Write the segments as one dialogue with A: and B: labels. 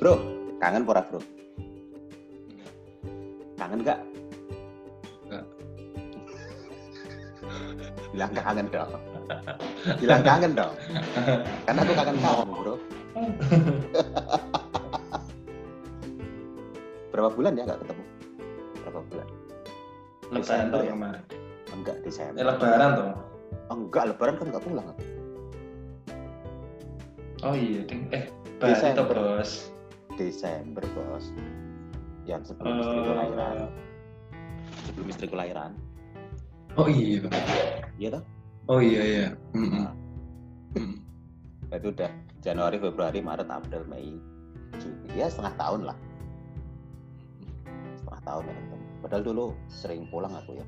A: Bro, kangen pora bro? Kangen gak?
B: Nggak.
A: Bilang kangen dong. Bilang kangen dong. Karena aku kangen kamu bro. Berapa bulan ya nggak ketemu? Berapa bulan? Oh,
B: Lebaran tuh kemarin.
A: Enggak
B: Eh,
A: Desember.
B: lebaran tuh.
A: Oh, enggak Lebaran kan nggak pulang. aku.
B: Oh iya, ding. Eh, Bali
A: Desember.
B: tuh bos.
A: Desember bos. Yang sebelum istriku lahiran.
B: Eh,
A: Sebelum istriku lahiran.
B: oh iya.
A: Iya toh?
B: Oh iya iya. Mm-mm.
A: Nah,
B: Mm-mm.
A: itu udah Januari, Februari, Maret, April, Mei, Juni. Ya setengah tahun lah. Setengah tahun ya ketemu. Padahal dulu sering pulang aku ya.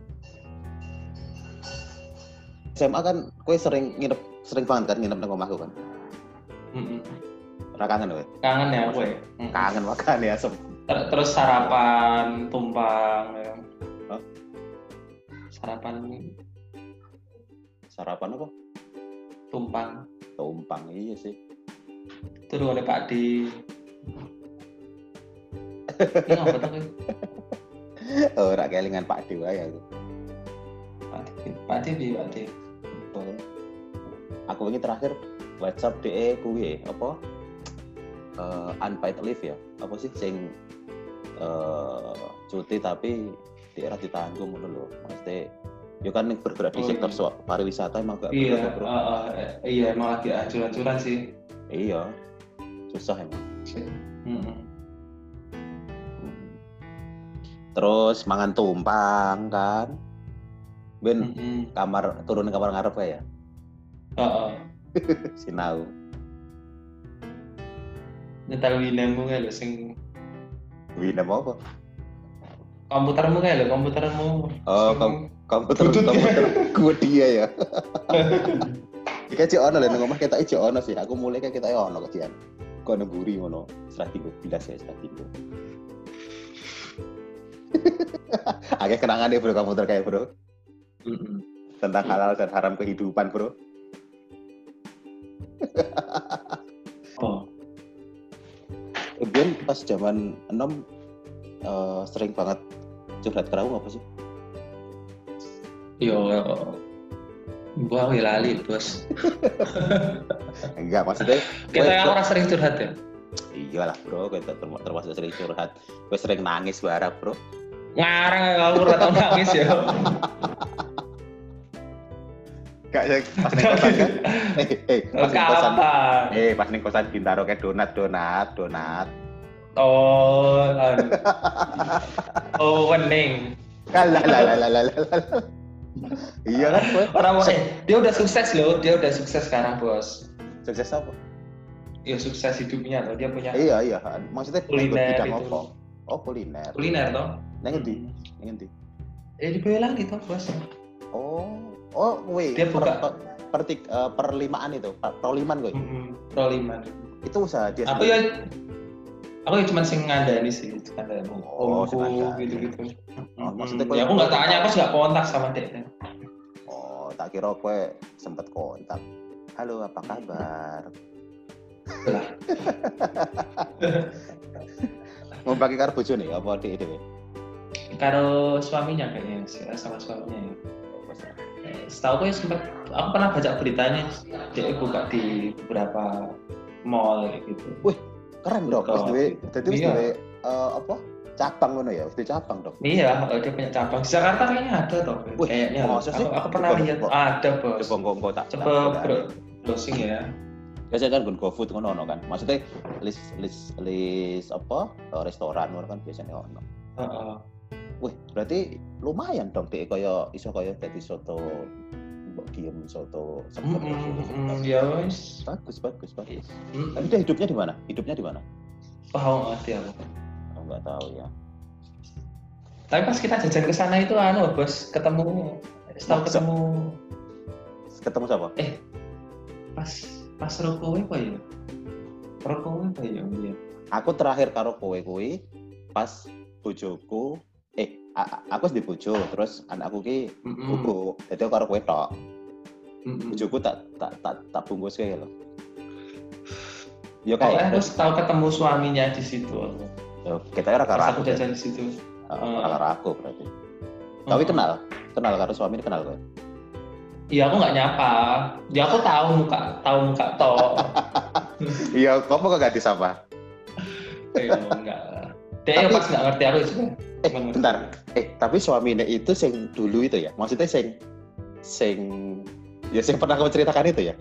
A: SMA kan kue sering nginep sering banget kan nginep nang omahku kan.
B: Mm-mm.
A: Ora kangen kowe.
B: Kangen ya gue.
A: Kangen makan ya sem.
B: Ter- terus sarapan tumpang ya.
A: Hah?
B: Sarapan
A: Sarapan apa?
B: tumpang
A: Tumpang iya sih.
B: itu oleh Pak D. Ini apa tuh? Gue?
A: Eh, Ora kelingan Pak Dewa ya aku.
B: Pak D, Pak D, Bi, Pak D.
A: Gitu. Aku ini terakhir WhatsApp DE E? kuwi apa? Eh, unpaid leave ya. Apa sih sing eh, cuti tapi daerah ditanggung ngono lho. Maksudnya ya kan yang bergerak di
B: Oh,
A: sektor
B: iya.
A: swa- pariwisata emang gak
B: Iya,
A: bergerak, Bro.
B: eh, eh, iya emang lagi acuran-acuran sih.
A: Iya. Susah emang.
B: Mm-mm.
A: Terus mangan tumpang kan. Ben
B: Mm-mm.
A: kamar turun kamar ngarep kayak ya?
B: Eh, eh.
A: sinau.
B: nyetel winemu kayak lho sing
A: Wih, nama apa?
B: komputermu kayak lho komputermu
A: Oh,
B: Sing-
A: kom- komputer
B: Butut ya.
A: komputer gue dia ya kita cek ono lah nang omah kita cek ono sih aku mulai kan kita ono kecian kau nemburi ngono serah tiga belas ya serah tiga agak kenangan deh bro komputer kayak bro
B: Mm-mm. Hmm.
A: tentang halal dan haram kehidupan bro
B: oh
A: Kemudian pas zaman enam eh, sering banget curhat ke kamu apa sih iya.
B: yo gua Iya. aku ya lali bos
A: enggak maksudnya
B: kita
A: Wait,
B: yang
A: bro.
B: orang sering curhat ya
A: iyalah bro kita term- termasuk sering curhat gue sering nangis barang bro
B: ngarang ya, kamu udah tau nangis ya
A: Gak ya, pas neng kosan kan? Eh, eh, pas neng kosan.
B: kapan
A: Eh, pas neng kosan Bintaro kayak donat, donat, donat.
B: oh anu. oh wening
A: Lah, lah, lah, lah, lah, lah, lah. Iya kan, gue.
B: orang mau eh, dia udah sukses loh dia udah sukses sekarang bos
A: Sukses apa?
B: ya sukses hidupnya loh dia punya
A: Iya, iya. Maksudnya neng gue
B: Kuliner
A: bidang
B: itu.
A: apa? Oh, kuliner.
B: kuliner toh
A: Neng ngendi? Neng ngendi?
B: ya di Boyolali toh bos
A: Oh, oh, wih.
B: Dia buka. Hmm.
A: Per, per, tik- eh, perlimaan itu, per- perliman gue.
B: Mm-mm. Proliman
A: Itu usaha dia.
B: aku
A: sendiri.
B: ya aku ya cuma sing ngandani sih ngandani
A: Oh, sing ngandani.
B: gitu gitu
A: Oh, maksudnya
B: ya
A: kau-
B: aku nggak tanya aku nggak kontak sama dia
A: Oh, tak kira gue sempat kontak. Halo, apa kabar?
B: Lah.
A: Mau pakai kartu nih, apa di itu?
B: karo suaminya kayaknya sih sama suaminya ya Eh, setahu aku ya sempat aku pernah baca beritanya dia buka di beberapa mall gitu
A: keren dong wis
B: Betul.
A: duwe dadi wis
B: Iya.
A: duwe eh, apa cabang ngono ya wis duwe cabang dong
B: iya eh, dia punya cabang di Jakarta kayaknya ada toh
A: Wih,
B: kayaknya
A: masa sih?
B: aku, aku pernah
A: Coba,
B: lihat
A: coba.
B: ada bos
A: coba engko engko tak
B: coba bro- browsing ya
A: biasa kan nggon GoFood ngono ono kan maksudnya list list list apa eh, restoran ngono kan biasanya ono
B: Heeh.
A: wih berarti lumayan dong dek kaya iso kaya dadi soto mbok diem soto seger
B: Mm, mm, mm, ya wes
A: bagus bagus bagus
B: Mm,
A: tapi dia hidupnya di mana hidupnya di mana
B: paham ngerti aku
A: oh, nggak tahu ya
B: Tapi pas kita jajan ke sana itu anu bos ketemu setahu
A: Maksa.
B: ketemu
A: ketemu siapa
B: pas pas ruko apa ya? Ruko apa ya? Iya.
A: aku terakhir karo kowe kuwi pas bojoku eh a- a- aku wis di bojo terus anakku ki
B: Mm-mm.
A: buku jadi aku karo kowe tok
B: Mm-mm.
A: bojoku tak tak tak tak bungkus kayak lho Yo kayak
B: Pokoknya
A: gitu.
B: aku tahu ketemu suaminya di situ. ya.
A: yo, kita era
B: Pas
A: karo aku.
B: aku
A: ya.
B: jajan di situ.
A: Heeh, Karo aku berarti. Tapi
B: Hmm.
A: kenal, kenal karo suami kenal kowe.
B: Iya aku nggak nyapa. Ya aku tahu muka, tahu muka toh.
A: Iya, kamu kok gak disapa?
B: Iya enggak. Dia ya
A: Tapi-
B: pas nggak ngerti aku juga.
A: Eh, bentar. Eh, tapi suaminya itu sing dulu itu ya. Maksudnya sing sing ya sing pernah kamu ceritakan itu ya.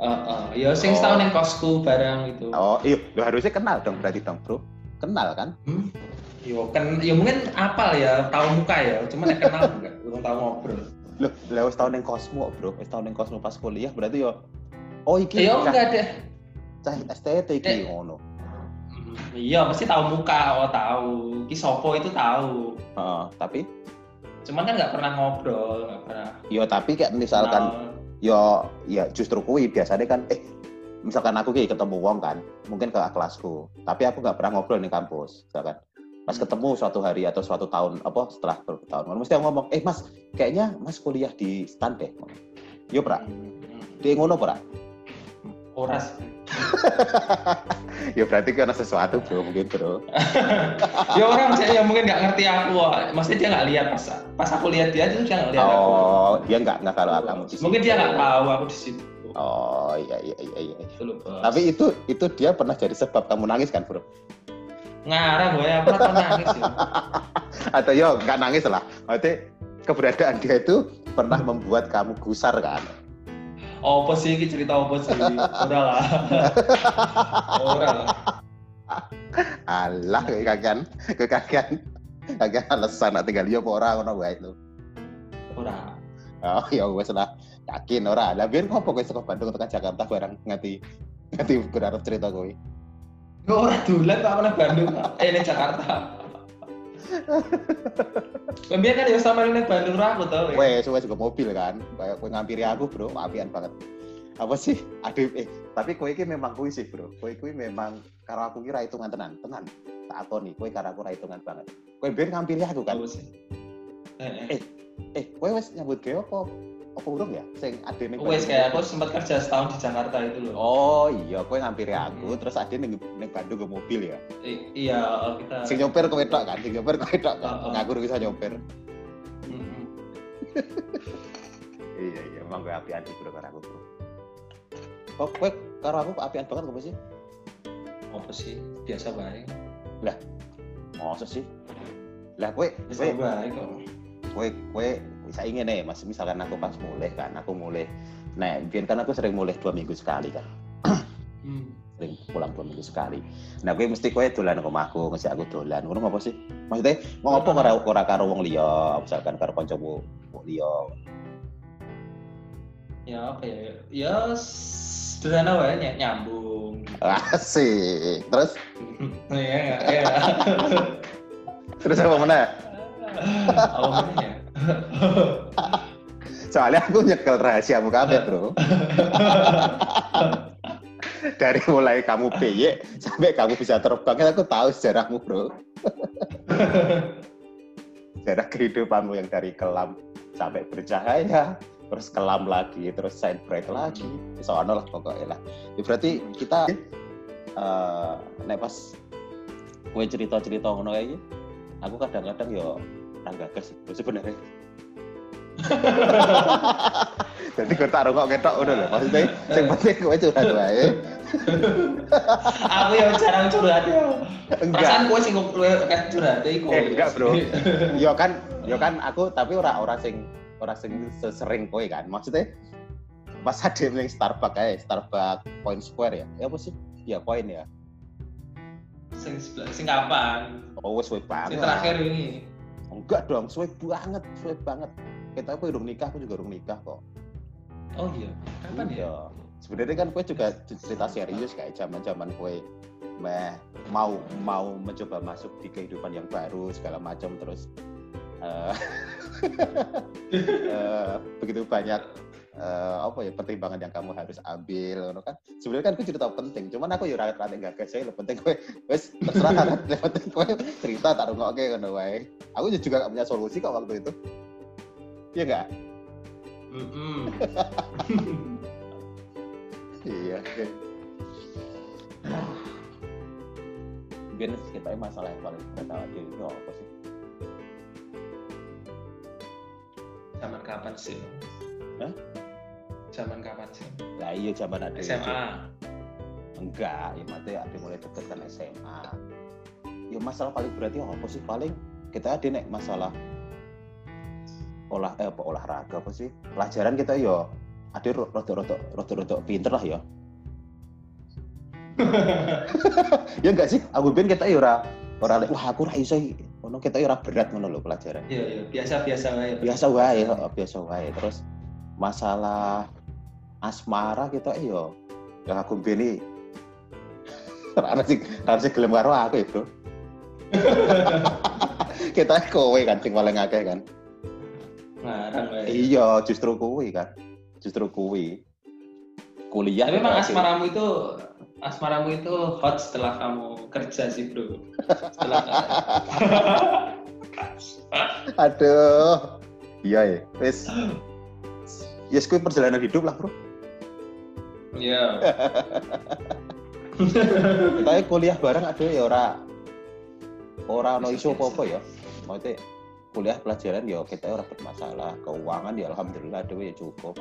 B: Heeh. Ya
A: Oh.
B: sing setahun yang kosku bareng gitu.
A: Oh, iya, lu harusnya kenal dong berarti dong, Bro. Kenal kan?
B: Hmm? Yo kan, yo mungkin apal ya, tahu muka ya, cuman ya kenal enggak, belum tahu ngobrol.
A: Loh, lewat setahun yang kosmo, Bro. Wis tahun yang kosmo pas kuliah berarti yo Oh, iki
B: Ya, Yo
A: cah-
B: enggak Eh. deh.
A: cah STT iki ngono.
B: Hmm, Iya, pasti tahu muka, oh tahu. Ki sopo itu tahu.
A: Heeh, tapi
B: Cuman kan nggak pernah ngobrol, nggak pernah.
A: yo tapi kayak kan misalkan
B: kenal.
A: yo ya justru kui biasanya kan eh misalkan aku kayak ketemu wong kan mungkin ke kelasku tapi aku nggak pernah ngobrol di kampus misalkan pas ketemu suatu hari atau suatu tahun apa setelah beberapa tahun mesti aku ngomong eh mas kayaknya mas kuliah di stan deh yo pra
B: Hmm,
A: dia ngono pra
B: Ora sih.
A: ya berarti karena sesuatu bro mungkin bro
B: Ya orang saya ya mungkin nggak ngerti aku, oh. maksudnya dia nggak lihat pas, pas aku lihat dia itu dia nggak lihat aku.
A: oh dia nggak nggak kalau kamu di situ.
B: mungkin dia nggak tahu aku di situ.
A: oh iya iya iya, iya.
B: Gitu loh, Bos.
A: tapi itu itu dia pernah jadi sebab kamu nangis kan bro
B: ngarang gue ya, pernah tau nangis ya.
A: atau yo nggak nangis lah maksudnya keberadaan dia itu pernah membuat kamu gusar kan
B: Apa sih ini cerita apa sih? Udah lah. Udah lah.
A: alah kekagian kekagian kekagian alasan nak tinggal yo apa ora ngono wae lu
B: Udah.
A: oh ya wes lah yakin ora lah biar ngopo kowe saka Bandung tekan Jakarta barang nganti nganti gue harap cerita kowe
B: Gue orang dulan tak pernah Bandung, Pak. eh ini Jakarta. Kemudian kan ya sama ini Bandung ra aku tau ya.
A: wes wes gue mobil kan kayak kowe ngampiri aku bro apian banget apa sih aduh eh tapi kowe iki memang kuwi sih bro kowe kuwi memang karo aku kira hitungan tenan tenan tak akoni kowe karo aku ra hitungan banget kowe biar ngampiri aku kan
B: Apa sih? Eh, eh.
A: Eh, eh kowe wes nyambut gawe apa apa urung ya sing adene
B: Wes kayak aku sempat kerja setahun di Jakarta itu loh.
A: Oh iya, kowe ngampiri aku,
B: Hmm.
A: terus ade ning ning Bandung ke mobil ya.
B: I- iya kita.
A: Sing nyopir kowe tok kan, sing nyopir kowe tok kan.
B: Oh, oh.
A: Ngaku bisa nyopir.
B: Mm-mm.
A: Iya iya, emang kowe apian sih bro karo aku. Bro. Kok Oh, kowe karo aku apian banget kok sih?
B: Apa sih? Biasa baik.
A: Masa sih? Lah kowe kowe
B: Biasa baik kok.
A: kowe kowe bisa ingin nih, mas misalkan aku pas mulai kan, aku mulai. Nah, biar kan aku sering mulai dua minggu sekali kan.
B: Hmm.
A: sering pulang dua minggu sekali. Nah, gue mesti kowe dolan ke omahku, ngejak aku dolan. Ngono apa sih? Maksudnya mau apa ora ora karo wong liya, misalkan karo kancamu wong liya.
B: Ya apa ya? Ya sederhana wae ny- nyambung.
A: Asik. Ah, Terus
B: Iya enggak ya.
A: terus apa mana?
B: Apa namanya ya?
A: Soalnya aku nyekel rahasiamu kabeh, Bro. Dari mulai kamu piye sampai kamu bisa terbang, kan aku tahu sejarahmu, Bro. Sejarah kehidupanmu yang dari kelam sampai bercahaya, terus kelam lagi, terus shine bright lagi. Soalnya lah pokoknya lah. Ya, berarti kita eh nek pas gue cerita-cerita ngono kayak gitu, aku kadang-kadang ya yo tangga gas sebenarnya. Jadi gue tak rokok ketok udah loh. Maksudnya yang penting gue curhat wae.
B: Aku ya jarang curhat ya.
A: Enggak.
B: Perasaan gue sih gue kan curhat iku.
A: Eh, enggak, Bro. Yo kan, yo kan aku tapi ora ora sing ora sing sesering kowe kan. Maksudnya pas ada yang Starbucks kayak Starbucks Point Square ya. Ya apa sih? Ya Point ya.
B: Sing sebelah, sing kapan?
A: Oh wes suwe
B: Sing
A: banget.
B: terakhir ini.
A: Enggak dong, suwe banget, suwe banget. Kita aku urung nikah, aku juga urung nikah kok.
B: Oh iya. Kapan ya?
A: Iya. Sebenarnya kan gue juga cerita serius kayak zaman-zaman gue meh mau mau mencoba masuk di kehidupan yang baru segala macam terus eh, eh, begitu banyak eh, apa ya pertimbangan yang kamu harus ambil ngono kan sebenarnya kan gue cerita penting cuman aku ya ora rada enggak saya lo penting gue wes terserah kan yang penting gue cerita tak rungokke ngono wae aku juga gak punya solusi kok waktu itu iya enggak
B: Mm-mm.
A: Iya. oke. mungkin kita masalah yang paling berat awake itu apa sih?
B: zaman kapan sih
A: Hah?
B: zaman kapan sih
A: Lah iya zaman ada
B: SMA
A: enggak ya mati ada mulai deket kan SMA ya masalah paling berarti apa sih paling kita ada nek masalah olah eh, apa, olahraga apa sih pelajaran kita yo ada rotok rotok rotok rotok pinter lah ya ya enggak sih aku ben kita yo ora ora lek, wah aku ora iso iki." ono kita yo ora berat ngono lho pelajaran
B: iya iya biasa biasa wae
A: biasa wae heeh, biasa wae terus masalah asmara kita iya yang aku bini rame sih rame sih gelem karo aku ya bro kita kowe kan sing paling akeh kan
B: ngarang wae
A: iya justru kowe kan justru kowe kuliah
B: tapi emang
A: kita-
B: asmaramu itu asmaramu itu hot setelah kamu kerja sih bro setelah
A: aduh iya ya wis yes kowe perjalanan hidup lah bro
B: iya
A: Tapi kuliah bareng aduh ya ora ora ono isu apa-apa ya. Maksudnya kuliah pelajaran ya kita ora bermasalah, keuangan ya alhamdulillah dhewe ya cukup.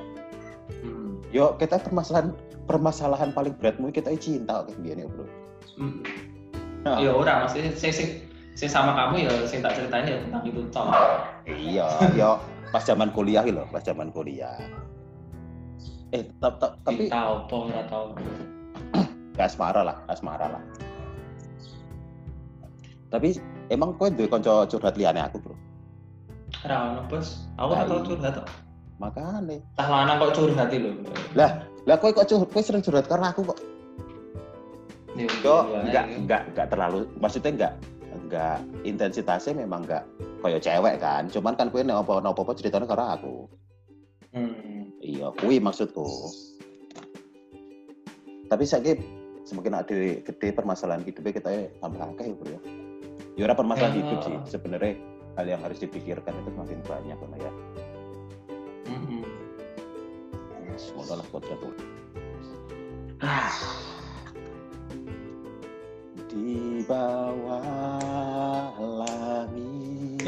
B: Hmm.
A: Yo kita permasalahan permasalahan paling berat mungkin kita cinta kayak gini bro.
B: Hmm.
A: Nah.
B: Ya ora maksudnya sing sing sing sama kamu ya sing tak ceritain ya tentang itu toh.
A: Iya, yo pas zaman kuliah gitu loh, pas zaman kuliah. Eh, tap, tap, tapi
B: Cinta apa ora tau.
A: gak asmara lah, gak asmara lah. Tapi emang kowe duwe kanca curhat liyane aku, Bro.
B: Ora ono bos. Aku ora tau
A: Tai.
B: curhat kok.
A: Makane.
B: Tah lanang kok curhat lho.
A: Lah kowe kok curhat, kowe sering curhat karena aku kok
B: Ya,
A: Yo,
B: iya,
A: enggak,
B: iya.
A: enggak, enggak terlalu. Maksudnya enggak, enggak intensitasnya memang enggak kayak cewek kan. Cuman kan kue nopo nopo apa ceritanya karena aku.
B: Hmm.
A: Iya, kui maksudku. Tapi saya semakin ada gede permasalahan hidupnya kita ya tambah akeh ya bro ya. Ya ora permasalahan
B: Ya.
A: hidup sih sebenarnya hal yang harus dipikirkan itu semakin banyak kan ya.
B: Mm-mm.
A: Semoga lah kodrat tuh. Di bawah langit.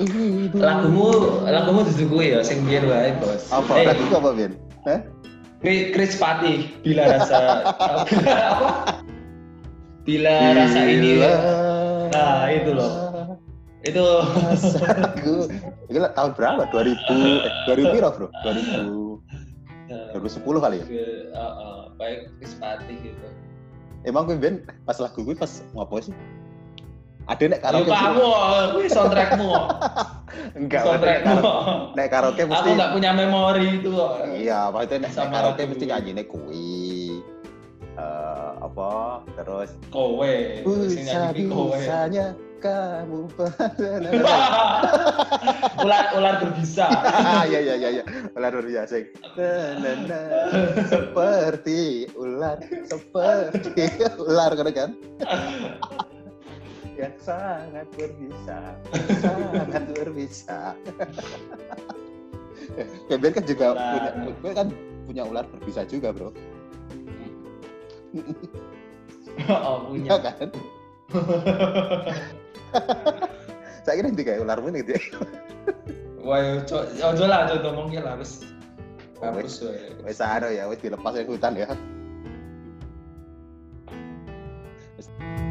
A: ibu.
B: Lagumu lagumu disuguhi ya sing biyen wae bos.
A: apa?
B: Eh,
A: Lagu apa, Bin? Hah?
B: Kri- Chris Pati bila rasa apa? Bila rasa ini
A: Bila
B: Nah, itu loh. itu
A: Rasaku. Gila, tahun berapa? 2000 eh, 2000 piro, Bro?
B: Nah.
A: 2000 2010 kali ya.
B: Ke- uh, uh, baik Chris Pati gitu.
A: Emang gue Ben pas lagu gue pas ngapain sih? Ada nek
B: Kalau
A: karaoke.
B: kamu,
A: sih?
B: gue soundtrackmu,
A: Enggak, nek
B: soundtrackmu.
A: karaoke- nek karaoke
B: Aku
A: mesti
B: nggak punya memori itu. eh. kok.
A: Iya, maksudnya nek
B: Sama
A: karaoke
B: lagu.
A: mesti nyanyinya kuwi. Eh apa? Terus
B: Kowe, sing
A: bisa
B: Eh, nyanyi kowe.
A: bisanya kamu
B: Ular ular berbisa.
A: ya ya ya ya ular biasa seperti ular seperti ular kan kan yang sangat berbisa sangat berbisa ya Ben kan juga
B: Ular.
A: punya Ben kan punya ular berbisa juga bro
B: oh
A: iya
B: punya.
A: kan saya kira nanti kayak ular pun gitu ya
B: Wah, ya, co- ojo lah, ojo ngomongnya lah, wis. Hapus
A: wes
B: wae.
A: wes ada ya wes dilepas dari hutan ya